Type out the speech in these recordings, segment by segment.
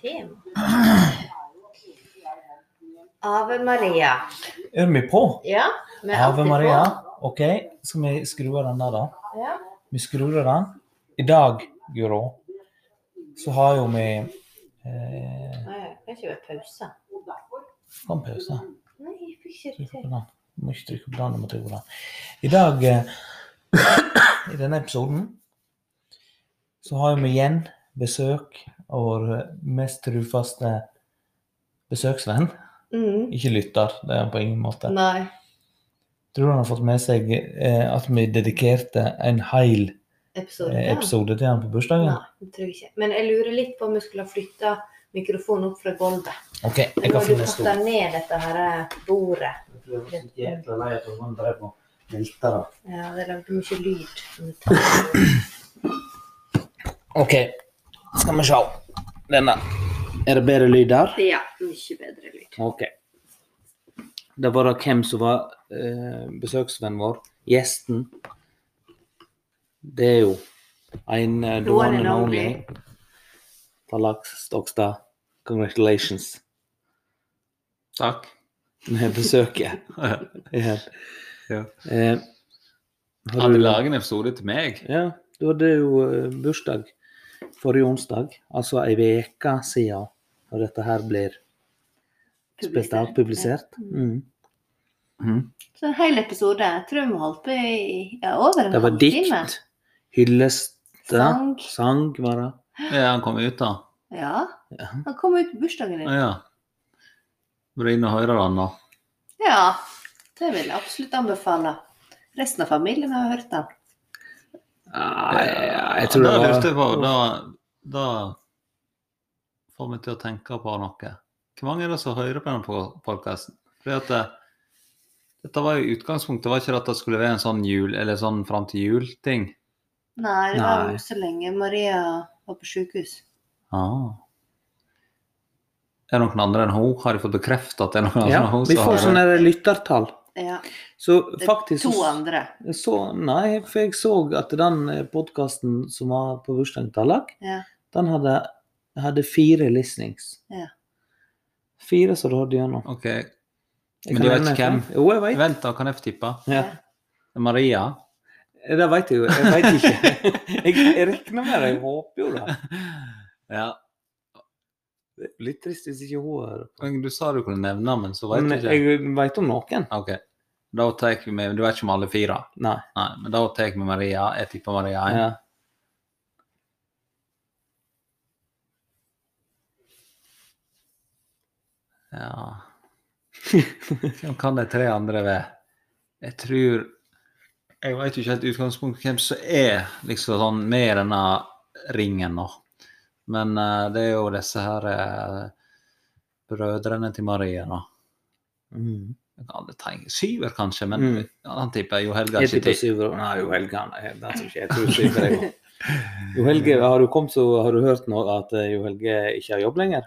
Tim. Ave Maria. Er vi på? Ja. vi er Ave alltid Maria. på. OK, skal vi skru av den der, da? Ja. Vi skrur av den. I dag, Guro, så har jo vi eh, Nei, det kan ikke være pause. Få en pause. Nei, jeg fikk ikke det Trykk på til. den. Du må ikke trykke på den, du må trykke på den. I dag, eh, i denne episoden, så har vi igjen besøk av vår mest trufaste besøksvenn. Mm. Ikke lytter, det er han på ingen måte. Nei. Tror du han har fått med seg eh, at vi dedikerte en hel Episode eh, fem? episode til han på bursdagen? Nei, det tror jeg ikke. Men jeg lurer litt på om vi skulle ha flytta mikrofonen opp fra gulvet. OK, jeg Nå kan har du finne en stol. tatt ned dette her eh, bordet. Jeg tror jeg var jækla lei av at han drev og velta det. Ja, det lagde mye lyd. OK, skal vi sjå. Denne. Er det bedre lyd der? Ja, mye bedre lyd. OK. Det var da hvem som var eh, besøksvennen vår. Gjesten. Det er jo en eh, the one and only Tallak Stokstad. Congratulations Takk. med besøket. Eh, Har Ja. Ja. Eh, har du du- laget en episode til meg? Ja, du hadde jo eh, bursdag forrige onsdag, altså ei veke siden når dette her blir spilt av, publisert. Mm. Så en hel episode. Jeg tror vi holdt på i ja, over en Det var halvtime. dikt, hylleste, Sang. sang var det. Ja, han kom ut, da. Ja. Ja. Han kom ut på bursdagen din. Å ja. Var du inne og hører han nå? Ja. Det vil jeg absolutt anbefale. Resten av familien har hørt den. Nei, jeg Ja, tror det da var lurte jeg på, da, da får meg til å tenke på noe. Hvor mange er det som hører på denne podkasten? Fordi at det, dette var jo i utgangspunktet var ikke det at det skulle være en sånn jul, eller sånn fram til jul-ting. Nei, det var Nei. jo så lenge Maria var på sykehus. Ah. Er det noen andre enn hun? Har de fått bekreftet at det er noen andre ja, enn hun? Vi som får hører? sånne lyttertall. Ja. Så Det er faktisk To andre. så, Nei, for jeg så at den podkasten som var på bursdagen til Tallak, Ja. den hadde, hadde fire listenings. Ja. Fire som du hadde gjennom. Ok, Jeg Men kan du vet nevne hvem? fem. Jo, jeg vet. Vent, da kan jeg få tippe. Ja. Maria. Det vet jeg jo. Jeg vet ikke. Jeg, jeg regner med det. Jeg håper jo det. Ja. Det er Litt trist hvis ikke hun hører på. men Du sa du kunne nevne, men så vet du Men ikke. jeg vet om noen. Ok. Da tar vi med Du vet ikke om alle fire? Nei. Nei, men da tar vi Maria. Jeg tipper Maria. Ja. Ja. Hvem kan de tre andre være? Jeg tror Jeg vet jo ikke helt i utgangspunktet hvem som er liksom sånn med i denne ringen nå. Men eh, det er jo disse her eh, brødrene til Maria, da. Mm. Jeg kan aldri tenke Syver, kanskje, men Mm. ja, han tipper Jo Helga Jeg ikke tipper til. Syver. Nei, Jo Helge han er den som ikke jeg tror Syver er god. Jo Helge, har du kommet så har du hørt nå at eh, Jo Helge ikke har jobb lenger?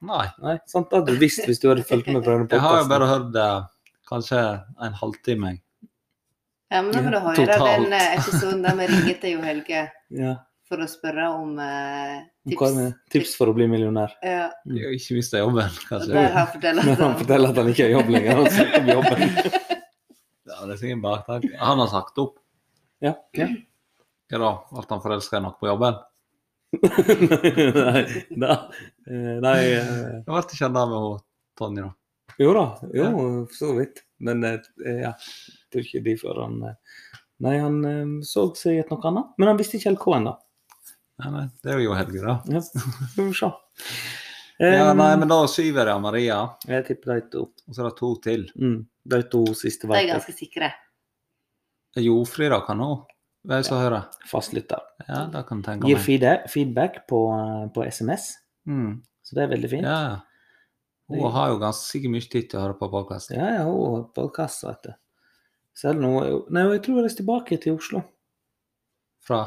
Nei. Nei, sant? Det hadde du visst hvis du hadde fulgt med på denne Jeg har jo podkasten. bare hørt eh, kanskje en halvtime. jeg. Ja, men da må du høre Totalt. den eh, episoden der vi ringer til Jo Helge Ja. for å spørre om eh, om tips. hva med Tips for å bli millionær. Ja, Jeg har ikke mista jobben, og kanskje. der har fortelleren Når han forteller at han ikke har jobb lenger. Han søker om jobben. Ja, det er sikkert baktanke. Han har sagt opp. Ja. ja. Hva da? Ble han forelska i noe på jobben? nei, da, eh, nei eh, Jeg ble ikke kjent med hun, Tonje, da. Jo da, jo, for så vidt. Men eh, ja, jeg tror ikke de før han eh, Nei, han eh, så seg et noe annet. Men han visste ikke helt hva ennå. Nei, nei, det er jo Jo Helge, da. Ja, får vi se. Ja, Em, nei, men da er Syver ja, Maria, Jeg tipper de to. og så er det to til. Mm, de to siste De er vet jeg. ganske sikre. Er Jofrid, da, kan hun? Hvem som hører? Fastlytter. Ja, det kan du tenke Gir meg. feede- feedback på, eh, på SMS, Mm. så det er veldig fint. Ja. Hun har jo ganske sikkert mye tid til å høre på podkasten. Ja, ja, hun er på kassa, vet du. Selv nå Nei, jeg tror hun er tilbake til Oslo. Fra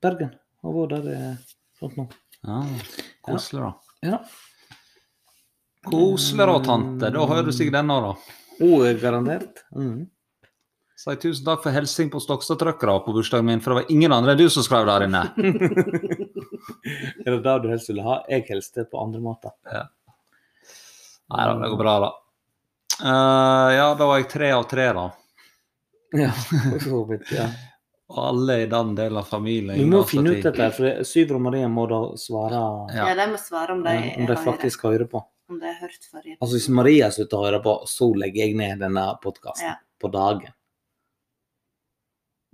Bergen. Hun var der eh, sånt nå. Ja, Koselig, da. Ja. Koselig, da, tante. Da hører du sikkert denne, da. Hun er garantert. Mm. Si tusen takk for hilsing på Stokstad-trøkkere på bursdagen min, for det var ingen andre enn du som skrev der inne. Er det det du helst ville ha? Jeg helste på andre måter. Nei da, det går bra, da. Eh, ja, da var jeg tre av tre, da. Ja, for så vidt, ja. Og alle i den delen av familien. Vi må altså, finne ut de- dette, her, for Syver og Marie må da svare eh, Ja. Ja, de må svare om de, om de faktisk hører på. om de har hørt forrige. Altså Hvis Maria slutter å høre på, så legger jeg ned denne podkasten Ja. på dagen.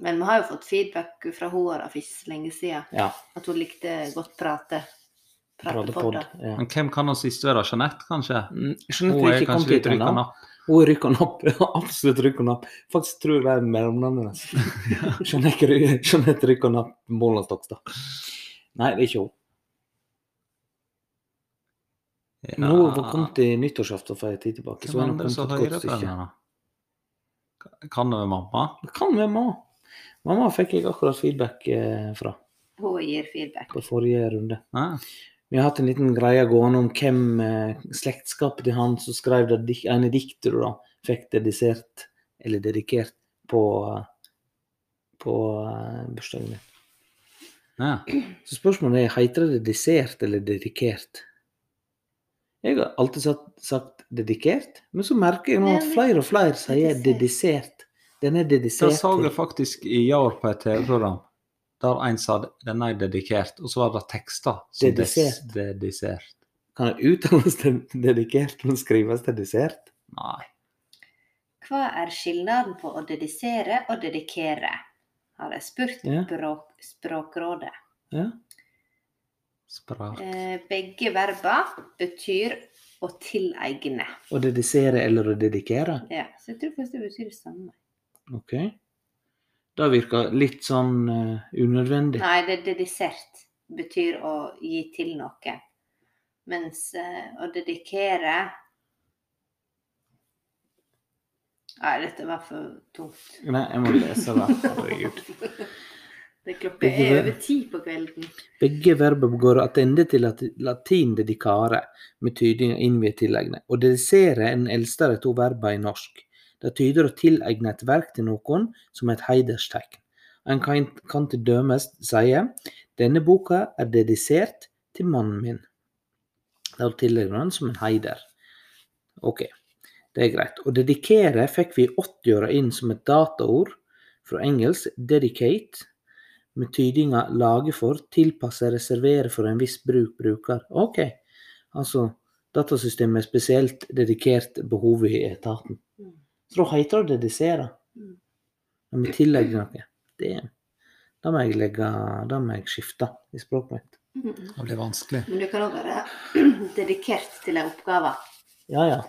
Men vi har jo fått feedback fra Håra for ikke så lenge siden. Ja. At hun likte godt prate. Pratepod. Pratepodda. Ja. Men hvem kan den siste være? Jeanette, kanskje? Mm, Hun Skjønner at er vi ikke kom kanskje litt dit rykka ennå. opp. Hun rykker den opp. Ja, Absolutt rykker den opp. Faktisk tror jeg det er mellomnavnet hennes. Jeanette Ry- Jeanette rykker den opp målet Stokstad. Nei, det er ikke hun. Nå har hun kommet til nyttårsaften for en tid tilbake. Så Hvem har hun andre som kommet et hører godt på stykke. henne? da? Kan det være mamma? Det kan være mamma. Mamma fikk jeg akkurat feedback eh, fra Hun gir feedback. på forrige runde. Hæ? Vi har hatt en liten greie gående om hvem eh, slektskapet til han som skrev det dik ene diktet du da fikk dedisert, eller dedikert, på, eh, på eh, bursdagen din. Ja. Så spørsmålet er, heter det dedisert eller dedikert? Jeg har alltid sagt, sagt dedikert, men så merker jeg nå at Nei, men- flere og flere sier dedisert. Den er Da dedisert så jeg til. faktisk i år på et TV-program der en sa den er dedikert, og så var det tekster som Dedisert. des- dedisert. Kan det uttales den- dedikert, men skrives dedisert? Nei. Hva er skillnaden på å dedisere og dedikere? Har jeg spurt Ja. språk, Språkrådet. Ja. Sprart. Eh, begge verba betyr å tilegne. Å dedisere eller å dedikere? Ja, så jeg tror faktisk det betyr det samme. Ok. Det virker litt sånn eh, unødvendig. Nei, det dedisert betyr å gi til noe. Mens eh, å dedikere Nei, dette var for tungt. Nei, jeg må lese det. Herregud. Det klokka er over ti på kvelden. Begge verber går attende til lati- latin dedicare, med tyding av innviet tilegne. Å dedisere er den eldste av de to verba i norsk. Det tyder å tilegne et verk til noen som et hederstegn. En kan, kan til dømes sie denne boka er dedisert til mannen min. Da tillegger han som en heider. Ok, det er greit. Å dedikere fikk vi i 80-åra inn som et dataord fra engelsk 'dedicate', med tydinga 'lage for', 'tilpasse', 'reservere for en viss bruk', 'bruker'. Ok, altså datasystemet er spesielt dedikert behovet i etaten. Mm. Så da heter det å dedisere. Mm. Men vi tillegger noe. Det, da må jeg legge Da må jeg skifte i språket mitt. Mm. Men Det blir vanskelig. du kan òg være dedikert til ei oppgave. Ja, ja.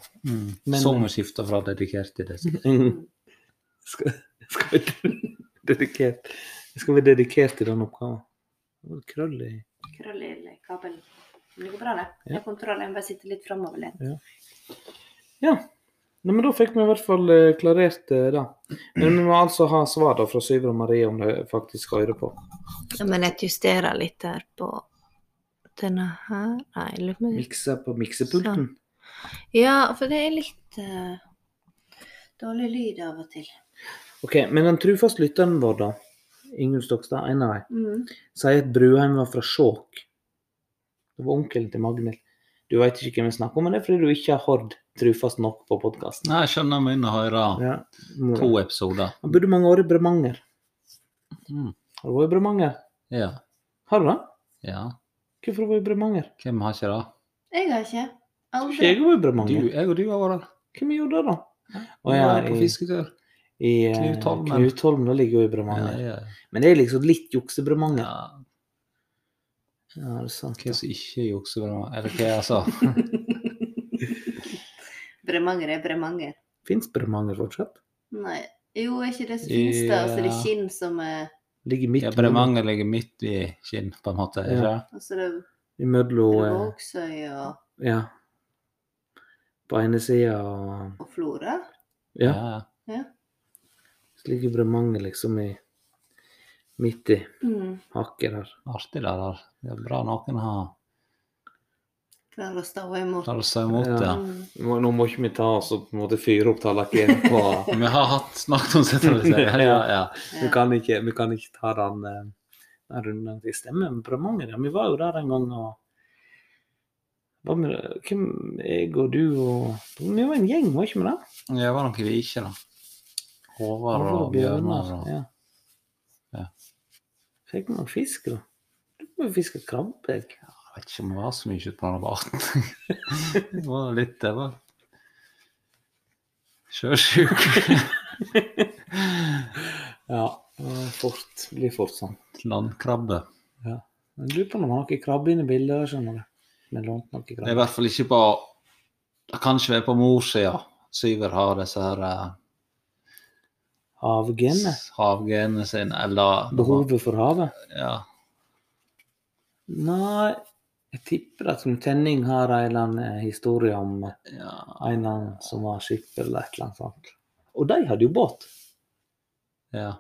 Men- Som å skifte fra dedikert til det. Mm. Skal, skal vi dedikert Jeg skal være dedikert til den oppgaven. Det var Krøll i Krøll i kabelen. Men det går bra, det. Ja. Jeg har kontroll, jeg må bare sitte litt framoverlent. Ja. Nei, men da fikk vi i hvert fall eh, klarert eh, det. Men vi må altså ha svar da fra Syver og Marie om det faktisk hører på. Men jeg justerer litt her på denne her. Nei, jeg lurer på om- Mikse på miksepulten. Ja, for det er litt Eh, Dårlig lyd av og til. Ok, Men den trufaste lytteren vår, da, Ingunn Stokstad, en av dem, Mm. sier at Bruheim var fra Skjåk. Det var onkelen til Magnhild. Du veit ikke hvem jeg snakker om, men det er fordi du ikke har hørt trufast nok på podkasten. Nei, jeg skjønner vi begynner å høre Ja, mor. to episoder. Han bodde mange år i Bremanger. Mm. Har du vært i Bremanger? Ja. Har du det? ja. Hvorfor har du vært i Bremanger? Hvem har ikke det? Jeg har ikke. Aldri. Jeg har vært Du, i Bremanger. jeg og du har vært Hvem gjorde det, da? Å Vi ja, var på i, fisketur. i eh, Knutholmen. Knutholmen. Det ligger jo i Ja, Bremanger. ja, Men det er liksom litt juks i ja. Bremanger. Ja, det er sant. Hva som ikke jukser bra? Eller hva altså? jeg sa? Bremanger er Bremanger. Fins Bremanger fortsatt? Nei. Jo, er ikke det som finnes da? Altså det er Ja. kinn som er Ligger midt Ja, Bremanger ligger midt i Kinn, på en måte. ikke Ja. det? Altså det imellom er eh, Vågsøy og, Ja. På ene sida og og Flora. Ja. ja. Så ligger Bremanger liksom i midt i Mm. hakket der. Artig det der. Det er bra noen har Klarer å stå imot. klart å stå imot det. Mm. Nå, nå må ikke vi ta oss og på en måte fyre opp talakken på Vi har hatt snakket om sentralisering. Ja, ja. vi, Ja. kan ikke, vi kan ikke ta den eh, den runden. Jeg stemmer med på mange av dem. Vi var jo der en gang og var med, Hvem Jeg og du og Vi var en gjeng, var ikke vi det? Det var noe vi ikke, da. Håvard Alle og Bjørnar. Og... Ja. Ja. Fikk noen fisk, da. Du må jo fiske krabbe. jeg. Jeg vet ikke om det var så mye utpå den barten. det var litt det var Sjøsjuk. Ja, det var fort, blir fort sånn. Landkrabbe. Men lurer på om det var noe krabbe inne i bildet. skjønner du. Vi lånte noe Det er i krabbe. hvert fall ikke på Det kan ikke være på morssida. Syver har disse her eh, Havgenene. havgenene sine, eller Behovet for havet. Ja. Nei, jeg tipper at som Tenning har en eller annen eh, historie om eh, ja. en eller annen som var skipper eller et eller annet sånt. Og de hadde jo båt. ja.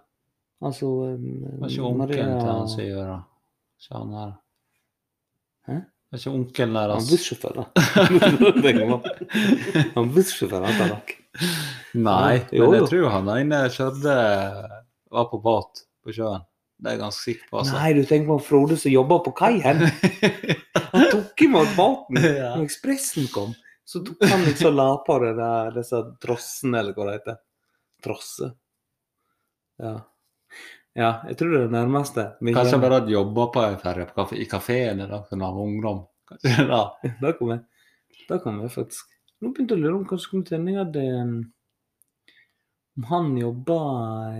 Altså Var ikke onkelen til han Syver, da? Se han her. Hæ? Var ikke onkelen altså. Han deres bussjåfør, da. Det kan være. han bussjåfør, han tar nok. Nei, Jo, men jo. jeg tror han ene kjørte Var på båt på sjøen. Det er jeg ganske sikker på, altså. Nei, du tenker på Frode som jobba på kaien. Han tok imot båten. Ja. Når ekspressen kom, så tok han liksom la på det der, disse drossene, eller hva det heter. Drosse. Ja. ja, jeg tror det er det nærmeste. Men Kanskje han ikke- bare hadde jobba på ei ferje på kafé, i kafeen i dag da han var ungdom. Kanskje det. Da kom jeg. Da kom jeg faktisk. Nå begynte jeg å lure om kanskje Knut Henning hadde em, Om han jobba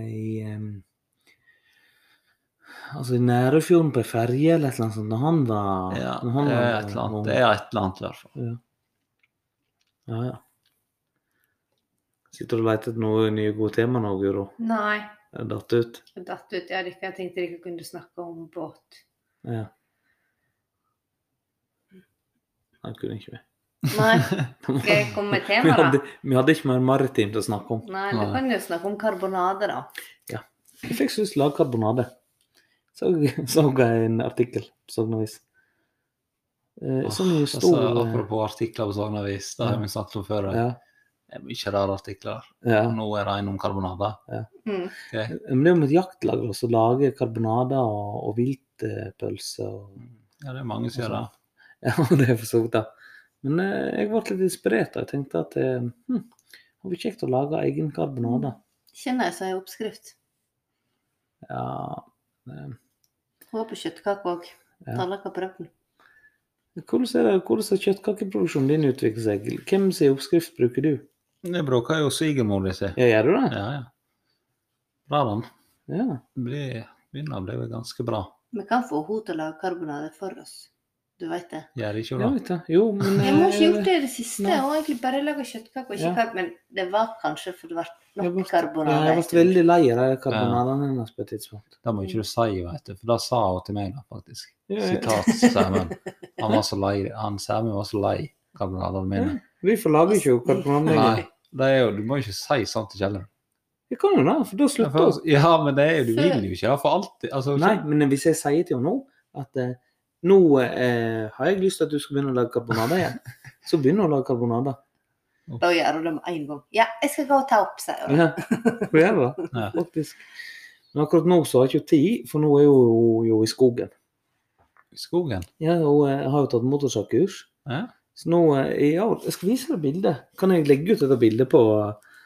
i em, Altså i Nærøyfjorden på ei ferje eller et eller annet sånt når han var Ja, når han det er var et eller annet. ung. Det er et eller annet, i hvert fall. Ja, ja. Sitter du og leter etter noe nye gode tema nå, Guro? Nei. Er det Datt ut? Jeg datt ut. Jeg hadde ikke tenkt dere kunne snakke om båt. Ja. Nei, det kunne ikke vi. Nei. Skal jeg komme med Vi tema, da? hadde, vi hadde ikke mer maritimt å snakke om. Nei, du kan jo snakke om karbonade, da. Jeg fikk så lyst til å lage karbonade. Så, så jeg en artikkel på Sognavis. Eh, som i Altså, stor apropos artikler på sånn vis, det har vi snakket om før. ja, Det er mye rare artikler. ja. Nå er det en om karbonade. Mm. Men det er jo med et jaktlag da, som lager karbonader og, og viltpølser. Og... Ja, det er mange som gjør det. Ja, det er for så vidt det. Men eh, jeg ble litt inspirert. og Jeg tenkte at eh, hm, det hadde vært kjekt å lage egen karbonade. Kjenner jeg så en oppskrift. Ja, eh, Hun var på kjøttkake òg. Ja. Talla har prøvd den. hvordan er det- hvordan har kjøttkakeproduksjonen din utviklet seg? Hvem sin oppskrift bruker du? Det bruker jo svigermor di si. Ja, gjør du det? Ja, ja. Bra, den. Ja. Blir- Begynner å bli ganske bra. Vi kan få henne til å lage karbonade for oss. Du veit det. Gjør ikke Jeg hun det? vet det. Jo, men Jeg må ikke eh, gjort det i det siste. Nei. Jeg har egentlig bare laga kjøttkake og ikke Ja. kake. Men det var kanskje for det ble Jeg nok ble, ja, karbonade. jeg ble veldig lei av de karbonadene hennes på et tidspunkt. Det må ikke du si, vet du, for det sa hun til meg, da, faktisk. Ja, ja. Sitat Sæmund. Han var så lei. Han Sæmund var så lei karbonadene mine. Vi får lage ikke jo karbonade lenger. Nei, det er jo, du må jo ikke si sånt til Kjelleren. Vi kan jo det, for Ja, da slutter for- vi. ja, men det er jo, du vil jo ikke det for alltid. Altså, Nei, men hvis jeg sier til henne nå at eh, nå eh, har jeg lyst til at du skal begynne å lage karbonade igjen, så begynner hun å lage karbonade. Da gjør hun det med en gang. Ja, jeg skal gå og ta opp, sier hun. Ja, hun gjør det, Ja. faktisk. Men akkurat nå så har jeg ikke tid, for nå er hun jo, jo i skogen. i skogen. Ja, hun eh, har jo tatt motorsagkurs. Ja. Så nå eh, i år Jeg skal vise deg bildet. Kan jeg legge ut dette bildet på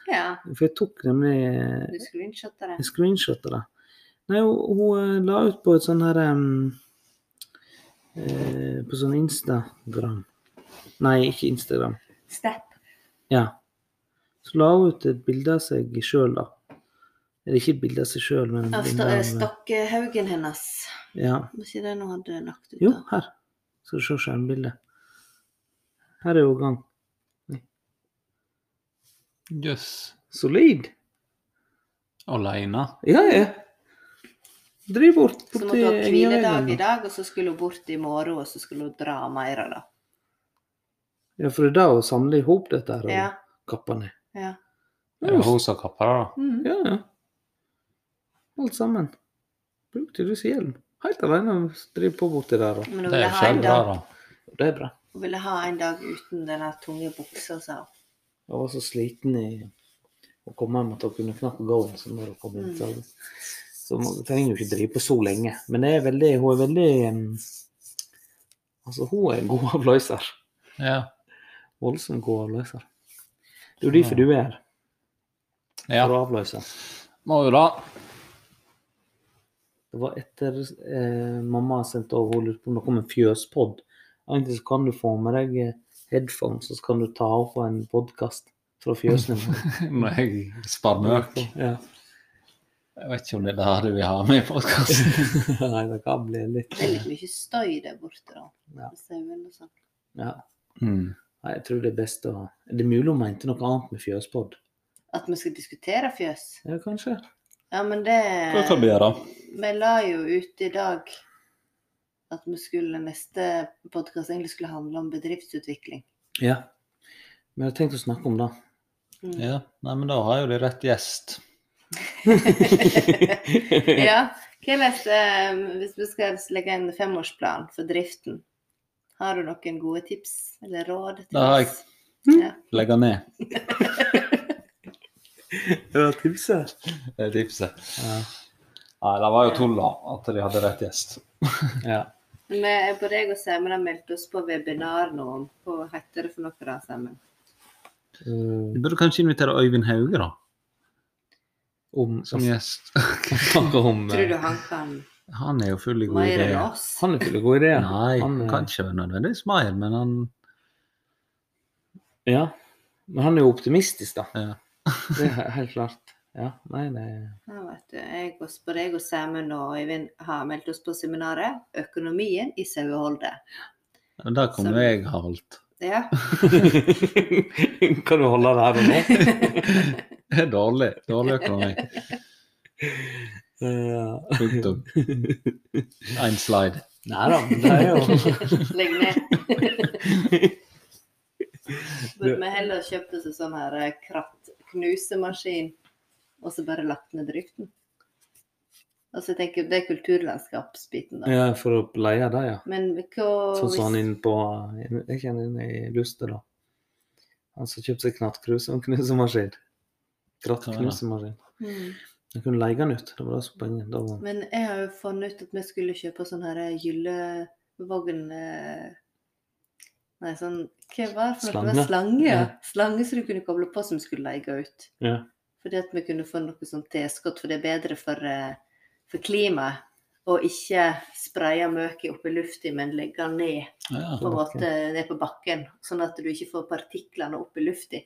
Ja, For jeg tok nemlig du screenshotte det. Jeg screenshotta det. Nei, hun, hun eh, la ut på et sånn her em, eh, På sånn Instagram Nei, ikke Instagram. Snap. Ja. Så la hun ut et bilde av seg sjøl, da. Eller ikke et bilde av seg sjøl, men et Av bilde sta- eh, av- Stokkehaugen hennes. Ja. Var ikke det hun hadde lagt ut? Jo, da? her. Skal du se skjermbildet. Her er hun i gang. Jøss. Solid. Aleine. Ja, ja. Driv bort Så borti måtte hun ha hviledag i Engavegen. dag, og så skulle hun bort i morgen, og så skulle hun dra mer, da. Ja, for det er da hun samler i hop dette her og Ja. kapper ned. ja. Er det hun som kapper det, da? Mm. Ja, ja. Alt sammen. Bruk tydeligvis hjelm. Helt alene og driver på borti der. Og. Men hun Det er ville jo ha en kjempebra, dag, da. Det er bra. hun ville ha en dag uten den der tunge buksa, sa hun. Jeg var så sliten i å komme hjem at jeg kunne knapt gå. Så når jeg kom inn, så, så Så man trenger jo ikke drive på så lenge. Men det er veldig, hun er veldig mm, Altså, hun er en god avløser. Ja. Voldsomt god avløser. Det er jo derfor du er her, ja. for å avløse. Må jo da. Det var etter eh, mamma sendte over hun lurte på om det kom en fjøspodd. Egentlig så kan du få med deg eh, headphones, og så kan du ta opp en podkast fra fjøsene. Når jeg spar møk. Ja. Jeg vet ikke om det er det her vi har med i podkasten. Nei, det kan bli litt Det er litt mye støy der borte, da. Ja. med sauen og sånn. ja. Mm. Nei, jeg tror det er best å Er det mulig hun mente noe annet med fjøspodd? At vi skal diskutere fjøs. Ja, kanskje. Ja, men det Hva kan vi gjøre? Vi la jo ut i dag at vi skulle, neste podkast egentlig skulle handle om bedriftsutvikling. Ja. Men jeg har tenkt å snakke om det. Mm. Ja. Nei, men da har jo de rett gjest. ja. Hvordan, eh, hvis vi skal legge en femårsplan for driften, har du noen gode tips eller råd? til Det har jeg. Mm. oss? Ja. Legge ned. Det var tipset. Det er eh, tipset. Ja. Nei, det var jo tull, da. At de hadde rett gjest. ja. Vi er på deg og Semmen har meldt oss på webinar nå om hva heter det for noe da, Semmen? Uh, Vi burde kanskje invitere Øyvind Hauge, da. om Som gjest. snakke om Tror du han kan Han er jo full i gode mer enn ideer. oss? Han er full av gode ideer. Nei, han eh, er- kan ikke være nødvendigvis mer, men han Ja. Men han er jo optimistisk, da. Ja. det er helt klart. Ja. Nei, det er Ja, vet du, jeg og på deg og Semmen og Øyvind har meldt oss på seminaret 'Økonomien i saueholdet'. Men der kunne Som- jeg ha holdt. Ja. Kan du holde det her og nå? Det er dårlig. Dårlig økonomi. Ja. Punktum. Én slide. Nei da, men det er jo Legg ned. Burde vi heller kjøpt oss en sånn her eh, krattknusemaskin og så bare lagt ned driften? Og så tenker jeg, Det er kulturlandskapsbiten, da. ja, For å leie det, ja. Men hva Sånn som han hvis inne på Jeg kjenner inn i Luster, da. Han som kjøpte seg knattkrus og en knusemaskin. Grattknusemaskin. Mm. Jeg kunne leie den ut. Det var det som var poenget. Da var- Men jeg har jo funnet ut at vi skulle kjøpe sånn her gyllevogn eh, Nei, sånn Hva var det for noe? Det var Slange. Slange, ja. Ja. Slange som du kunne koble på som vi skulle leie ut. Ja. Fordi at vi kunne få noe sånt tilskudd, for det er bedre for, eh, for klimaet. å ikke spraye møket opp i lufta, men legge den ned Ja. på, en måte, ned på bakken. Sånn at du ikke får partiklene opp i lufta.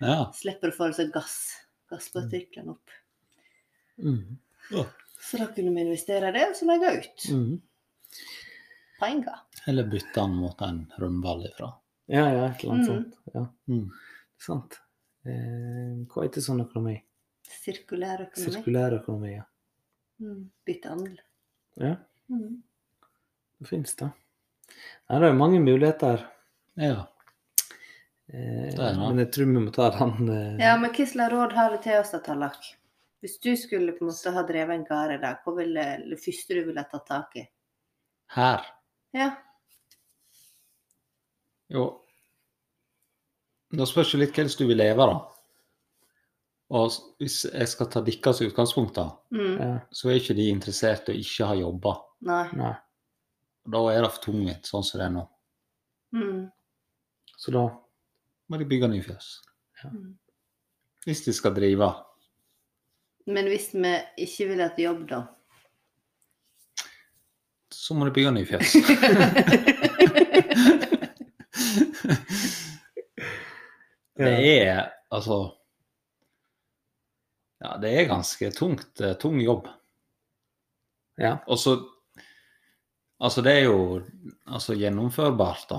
ja. Slipper å få altså gass, gasspartiklene opp. Mm. Så da kunne vi investere i det, og så legge ut Mm. penger. Eller bytte han mot en rømball ifra. ja, ja, et eller Mm. annet sånt. Ja. Mm. Sant. Eh, hva heter sånn økonomi? Sirkulær økonomi. Sirkulær økonomi, ja. Mm. Byttehandel. ja. Mm. Det finnes det. Nei, det er mange muligheter. Ja. Eh, Det er det. men jeg tror vi må ta den eh, Ja, men hva slags råd har du til oss, da, Tallak? Hvis du skulle på en måte ha drevet en gard i dag, hva ville det første du ville tatt tak i? Her. Ja. Jo. Da spørs det litt hva du vil leve, da. Og s- hvis jeg skal ta deres utgangspunkt, da, Mm. ja. så er ikke de interessert i å ikke ha jobba. Nei. Nei. Da er det for tungvint, sånn som det er nå. Mm. Så da Må de bygge nye fjøs. Mm. Hvis de skal drive. Men hvis vi ikke vil ha et jobb, da? så må du bygge nye fjes. det eh, er altså Ja, det er ganske tungt, eh, tung jobb. Ja. Og så Altså, det er jo altså, gjennomførbart, da.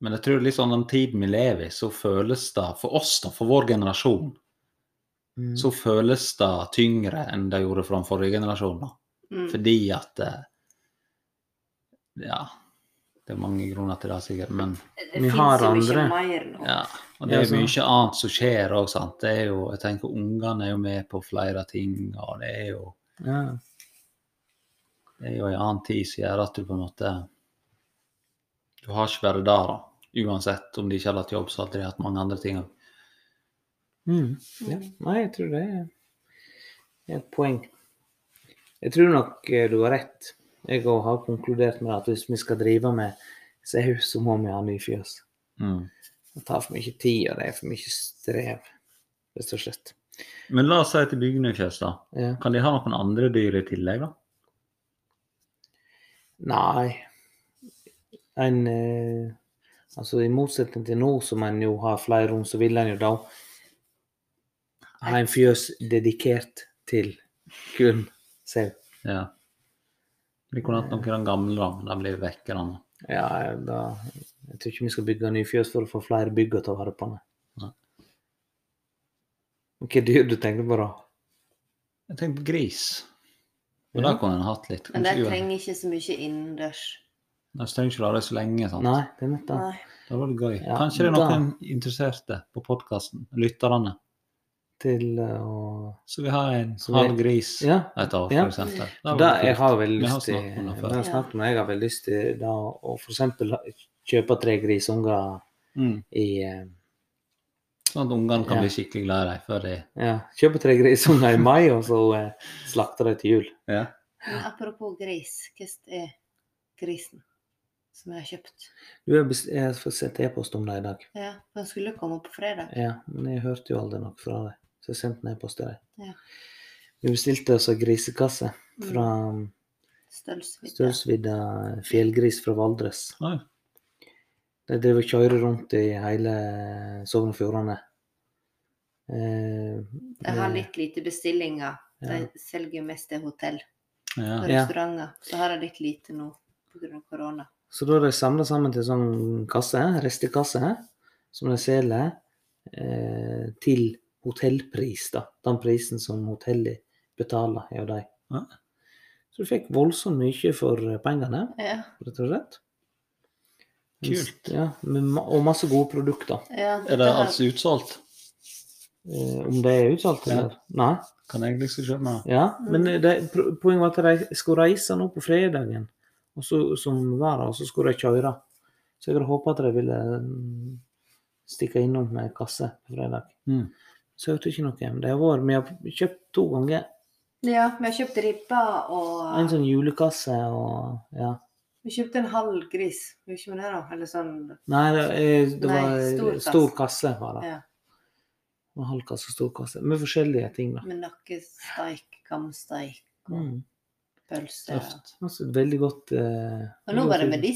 Men jeg tror litt sånn den tiden vi lever i, så føles det for oss, da, for vår generasjon, Mm. så føles det tyngre enn det gjorde for den forrige generasjonen. da. Mm. Fordi at eh, Ja, det er mange grunner til det, sikkert, men Det Vi finnes har jo andre. ikke mer nå. ja. Og det Ja, er sånn. mye annet som skjer òg, sant. Det er jo, jeg tenker ungene er jo med på flere ting, og det er jo ja. det er jo en annen tid som gjør at du på en måte Du har ikke bare det, da. Uansett om de ikke hadde hatt jobb, så hadde de hatt mange andre ting òg. Mm. ja. Nei, jeg tror det er et poeng. Jeg tror nok eh, du har rett. Jeg òg har konkludert med at hvis vi skal drive med sau, så må vi ha ny fjøs. Mm. Det tar for mye tid, og det er for mye strev, rett og slett. Men la oss si at de bygger ned fjøs, da. Ja. Kan de ha noen andre dyr i tillegg, da? Nei. En eh, Altså, i motsetning til nå, som en jo har flere rom, så vil en jo da ha en fjøs dedikert til kun sau. Ja. Vi kunne hatt noen av de gamle, da. men De blir vekk. Da. Ja, da Jeg tror ikke vi skal bygge nye fjøs for å få flere bygg å ta vare på. Nei. Nei. Hvilke dyr du tenker på, da? Jeg tenker på gris. Men Ja. da kunne en hatt litt. Men de Kanskje uansett. trenger ikke så mye innendørs. Nei, så trenger ikke du ha det så lenge. sant? Nei, det er nett det. Nei. Da var det gøy. Ja, Kanskje det er da- noen interesserte på podkasten, lytterne, Til eh, å så vi har en Så vi- halv gris Ja. et år, Ja. for eksempel. Da var Det, det jeg kult. har veldig Vi har lyst til snakket om det før. vi har snakket om det. Jeg har veldig lyst til da å f.eks. kjøpe tre grisunger Mm. i eh, Sånn at ungene kan Ja. bli skikkelig glad i dem før de Ja, kjøpe tre grisunger i mai, og så eh, slakte de til jul. ja. Men apropos gris, hvordan er grisen som jeg har kjøpt? Du har bes- jeg har fått sett e-post om det i dag. Ja, Den skulle komme på fredag. Ja, men jeg hørte jo aldri noe fra dem, så jeg sendte en e-post til dem. Ja. Vi bestilte oss en grisekasse Mm. fra Stølsvidde. Stølsvidda fjellgris fra Valdres. Oi. De driver og kjører rundt i hele Sogn og Fjordane. Eh, Jeg har med- litt lite bestillinger. De Ja. selger mest til hotell og Ja. Ja. restauranter. Så har jeg litt lite nå pga. korona. Så da er de samla sammen til sånn kasse, restekasse, som de selger eh, til hotellpris, da. Den prisen som hotellet betaler, er jo de. Ja. Så du fikk voldsomt mye for pengene, Ja, rett og slett. Kult. Ja, med ma- og masse gode produkter. ja, dette Er det har- altså utsolgt? Eh, om det er utsolgt, Ja. eller? Nei. Kan jeg liksom kjøpe meg Ja, Mm. men de, pro- poenget var at de skulle reise nå på fredagen, og så, som var det, og så skulle de kjøre. Så jeg hadde håpet at de ville mm, stikke innom med kasse på fredag. Mm. Så jeg hørte ikke noe. Men det har vært, vi har kjøpt to ganger. Ja, vi har kjøpt ribba En og sånn julekasse og ja. Vi kjøpte en halv gris. Hva gjør vi det, da? Eller sånn Nei, det, eh, det Nei, var stor kasse. stor kasse. stor kasse var det. ja, En halv kasse, stor kasse. Med forskjellige ting, da. med nakkesteik, kamsteik og Mm. pølse. tøft? Altså, et veldig godt eh, Og nå var det veldig godt-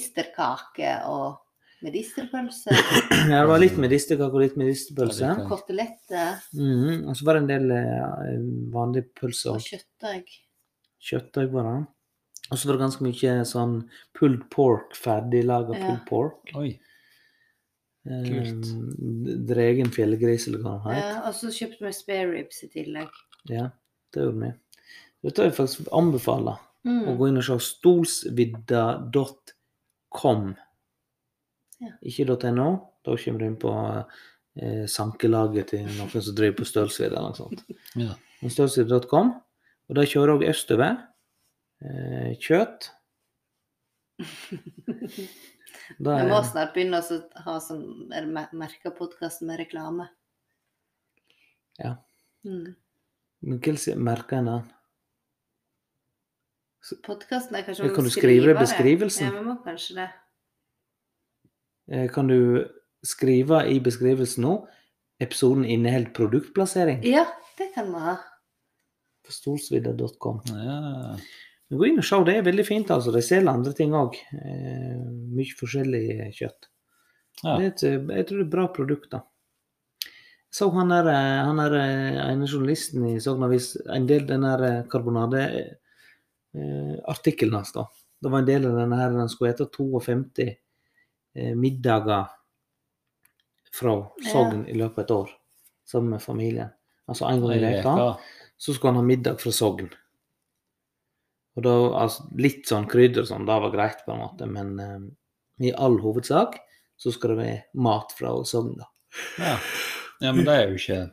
medisterkake og medisterpølse. Ja, det var litt medisterkake og litt medisterpølse. Ja, det Koteletter Mhm, Og så var det en del eh, vanlige pølser og og kjøttdeig. kjøttdeig på det. Og så var det ganske mye sånn pulled pork, ferdiglaga Ja. pulled pork. Oi. Kult. Eh, Dregen fjellgris, eller hva den heter. Ja, og så kjøpte vi spare ribs i tillegg. Ja, det gjorde vi. Dette har jeg faktisk anbefala. Å Mm. gå inn og se stolsvidda.com. Ja. Ikke .no. Da kommer du inn på eh, sankelaget til noen som driver på Stølsvidda eller noe sånt. Ja. Men stølsvidda.com. Og de kjører òg østover. Eh, kjøtt. Det Vi er, må snart begynne å så- ha sånn merka podkasten med reklame. Ja. Mm. men hvordan merker en den? Podkasten er kanskje Ja, vi kan må du skrive det. beskrivelsen? Ja, vi må kanskje det. Eh, kan du skrive i beskrivelsen nå episoden inneholder produktplassering? Ja, det kan vi ha. På stolsvidda.com. Ja. Men Gå inn og se, det er veldig fint. altså. De selger andre ting òg. Eh, mye forskjellig kjøtt. Ja. Det er et, eh, jeg tror det er bra produkt, da. Så han er, eh, han er eh, ene journalisten i Sogn Avis En del den eh, her karbonadeartikkelen eh, hans, da. Det var en del av denne her den skulle hete 52 eh, middager fra Sogn i løpet av et år sammen med familien. Altså en gang i Ei veka veka. så skulle han ha middag fra Sogn. Og da, altså, litt sånn krydder og sånn, det var greit, på en måte, men eh, i all hovedsak så skal det være mat fra Sogn, da. Ja. ja, men det er jo ikke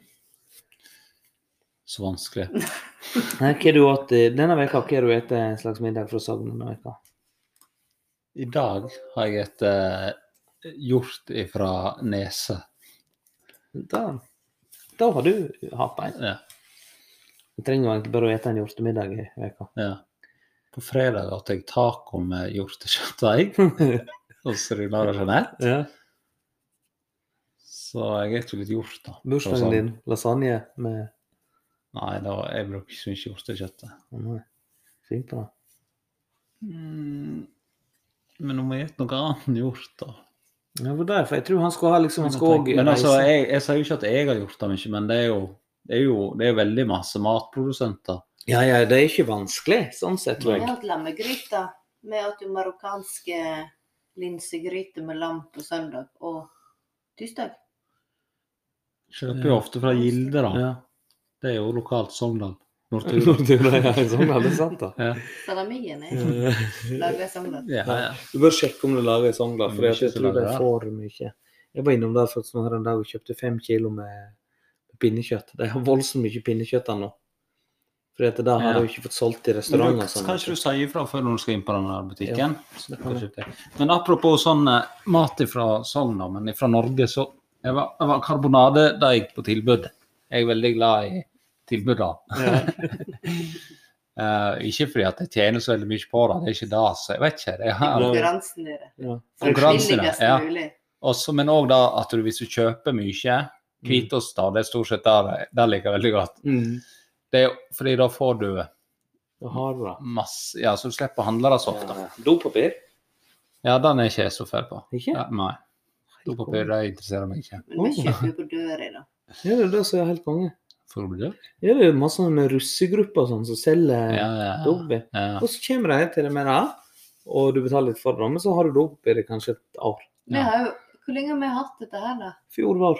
så vanskelig. Nei, Hva du åt eh, denne veka, hva har du spist en slags middag fra Sogn denne veka? I dag har jeg et eh, hjort ifra Nese. Da, da har du hatt en. Ja. Jeg trenger jo egentlig bare å ete en hjortemiddag i veka. Ja. På fredag åt jeg taco med hjortekjøttdeig hos Runar og Jeanette. ja. Så jeg spiser litt hjort, da. Bursdagen Og sånn. din, lasagne med Nei, da, jeg bruker ikke så mye hjortekjøtt. jeg. Å, nei. Fint på det. Mm. Men nå må jeg gjette noe annet enn hjort, da. Ja, for derfor. Jeg tror han skal ha liksom Han skal òg men altså, jeg, jeg sier jo ikke at jeg har gjort det mye, men det er jo, det er jo det er jo veldig masse matprodusenter. Ja, ja, det er ikke vanskelig sånn sett, tror Vi jeg. har hatt lammegryte. Vi har hatt jo marokkanske linsegryte med lam på søndag og tirsdag. Kjøper jo Ja. ofte fra Gilde, da. Ja. Det er jo lokalt Sogndal. Nortura. Nordtura, ja, sånn er det sant, da. ja. Salamien er Eh, laga sånn. da. Ja, ja. Du sånn, bør sjekke om det er laget i Sogndal, for Mye jeg som tror de lager det. får mye. Jeg var innom der faktisk nå her en dag og kjøpte fem kilo med pinnekjøtt. De har voldsomt mye pinnekjøtt der nå. For det har Ja. de jo ikke fått solgt i Men restauranter. du, og sånn, Kan ikke du si ifra før når du skal inn på den her butikken? Så det kan jeg. Men apropos sånn eh, mat fra Sogn, da, men fra Norge, så jeg var, jeg var karbonadedeig på tilbud. Jeg er veldig glad i tilbud, da. Eh, ikke fordi at jeg tjener så veldig mye på det, det er ikke det. Så jeg vet ikke. Det er, Konkurransen i det. Ja. For Konkurransen, billigst ja. mulig. også, men òg da at du, hvis du kjøper mye hvitost, da, det er stort sett der, der liker jeg veldig godt. Mm. Det er, fordi da får du Da har du det. masse Ja, så du slipper å handle det så ofte. Ja. Dopapir? Ja, den er ikke jeg så fæl på. Ikke? Ja, nei. Dopapir det interesserer meg ikke. Men vi Oh. kjøper jo på døra i dag. Ja, det er det som er helt konge. For å bli død? Ja, det er masse sånne russegrupper og sånn som Ja, selger ja, ja. dopapir. ja. Og så kommer de til deg med det, og du betaler litt for det, men så har du dopapir i kanskje et år. Vi Ja. har jo Hvor lenge har vi hatt dette her, da? Fjor var.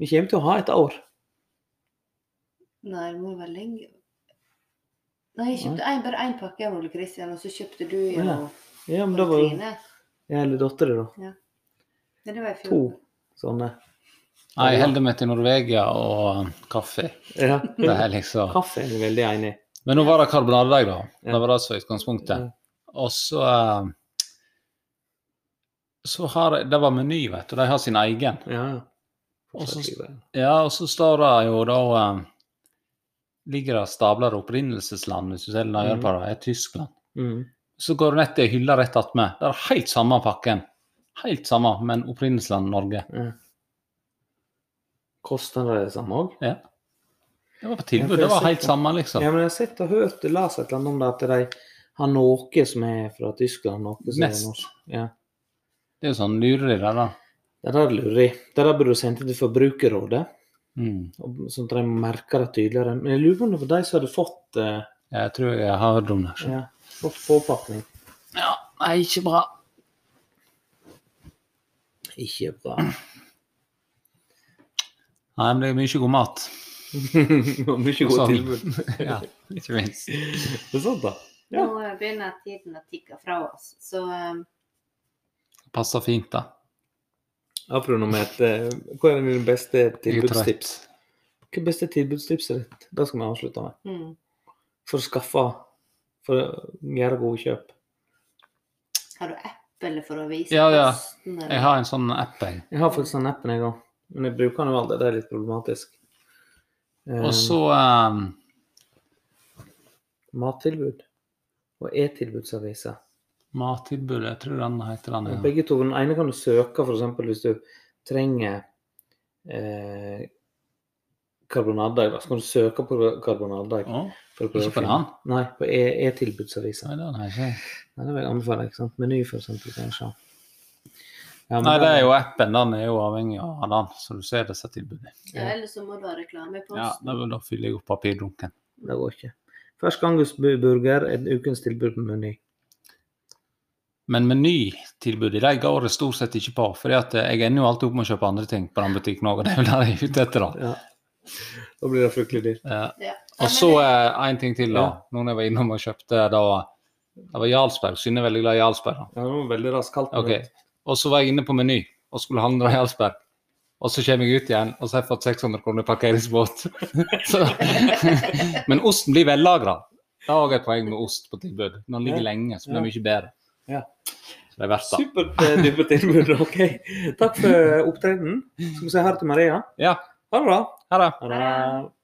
Vi kommer til å ha et år. Nei, det må jo være lenge Nei, jeg kjøpte en, bare én pakke av Ole Kristian, og så kjøpte du jo Ja, Ja, men og det var jo Trine. jeg eller dattera, da. Nei, det var i fjor. To sånne. Nei, Jeg holder meg til Norvegia og um, kaffe. Ja. Det er liksom. Kaffe er jeg veldig enig i. Men nå var det karbonadedeig, da. Ja. Mm. Det var det som var utgangspunktet. Og så um, så har jeg, Det var Meny, vet du. De har sin egen. Ja, ja. Og så- Fortsatt liker jeg det. Ja, og så står det jo da um, Ligger det stabler opprinnelsesland, hvis du selger nøyere på det, er Tyskland. Mm. Så går du ned til hylla rett attmed. Det er helt samme pakken. Helt samme, men opprinnelsesland Norge. Ja. Koster det det samme òg? Ja. Det var på Ja, for tilbud. jeg Det var har helt sett det. samme, liksom. Ja, men jeg har sett og hørt og lest et eller annet om det, at de har noe som er fra Tyskland, noe som Mest. er norsk. Ja. Det er jo sånn lureri, det da. Det der lurer jeg. Det der burde du sendt til Forbrukerrådet, Mm. og- sånn at de merker det tydeligere. Men jeg lurer på om det var de som hadde fått, eh, Jeg tror jeg har hørt om det. ja, fått påpakning. Ja, nei, ikke bra. Ikke bra. Nei, men det er mye god mat. Og mye Sånn. godt tilbud. ja, ikke minst. Det er sant, da. Ja. Nå eh, begynner tiden å tikke fra oss, så eh, Passer fint, da. Apropos med et eh, Hva er dine beste Jeg er trøtt. tilbudstips? Hva er beste tilbudstipset ditt? Det skal vi avslutte med. mm. For å skaffe For å gjøre gode kjøp. Har du app eller for å vise Ja, ja. posten? Jeg har en sånn app, jeg. Jeg har faktisk den appen, jeg òg. Men jeg bruker den jo aldri. Det er litt problematisk. Eh, Og så um, Eh, Mattilbud og e-tilbudsaviser. mattilbudet. Jeg tror den heter den. Og Ja. Begge to. Den ene kan du søke, f.eks. hvis du trenger eh, karbonadedeig. da. Så kan du søke på karbonadedeig. Å, for å prøve ikke å på finne- den? Nei, på e- e-tilbudsavisa. Nei, den har jeg ikke. Nei, det vil jeg anbefale. ikke sant? Meny, for eksempel, kanskje. Ja, men Nei, det da- er jo appen. Den er jo avhengig av den, så du ser disse tilbudene. Ja, Eller så må du ha reklame i Ja, posten. da, da fyller jeg opp papirdunken. Det går ikke. Fersk angusburger er ukens tilbud på Meny. Men menytilbudet de går det stort sett ikke på. For jeg ender jo alltid opp med å kjøpe andre ting på den butikken òg, og det er vel det jeg er ute etter. da. Ja. Da blir det fryktelig dyrt. Eh, Ja. og så eh, en ting til, da. Ja. Noen jeg var innom og kjøpte da Det var Jarlsberg. Synne er veldig glad i Jarlsberg. da. Ja, det var veldig raskt kaldt. Ok. Og så var jeg inne på Meny og skulle handle Jarlsberg. Og så kommer jeg ut igjen, og så har jeg fått 600 kroner i parkeringsbot. Så- Men osten blir vellagra. Det er òg et poeng med ost på tilbud. Når den ligger Ja. lenge, så blir det mye bedre. Ja. Så det er verdt det. Supert eh, dype tilbud. Ok. Takk for opptredenen. Skal vi si ha det til Maria? Ja, Ha det bra. ha det. Ha det.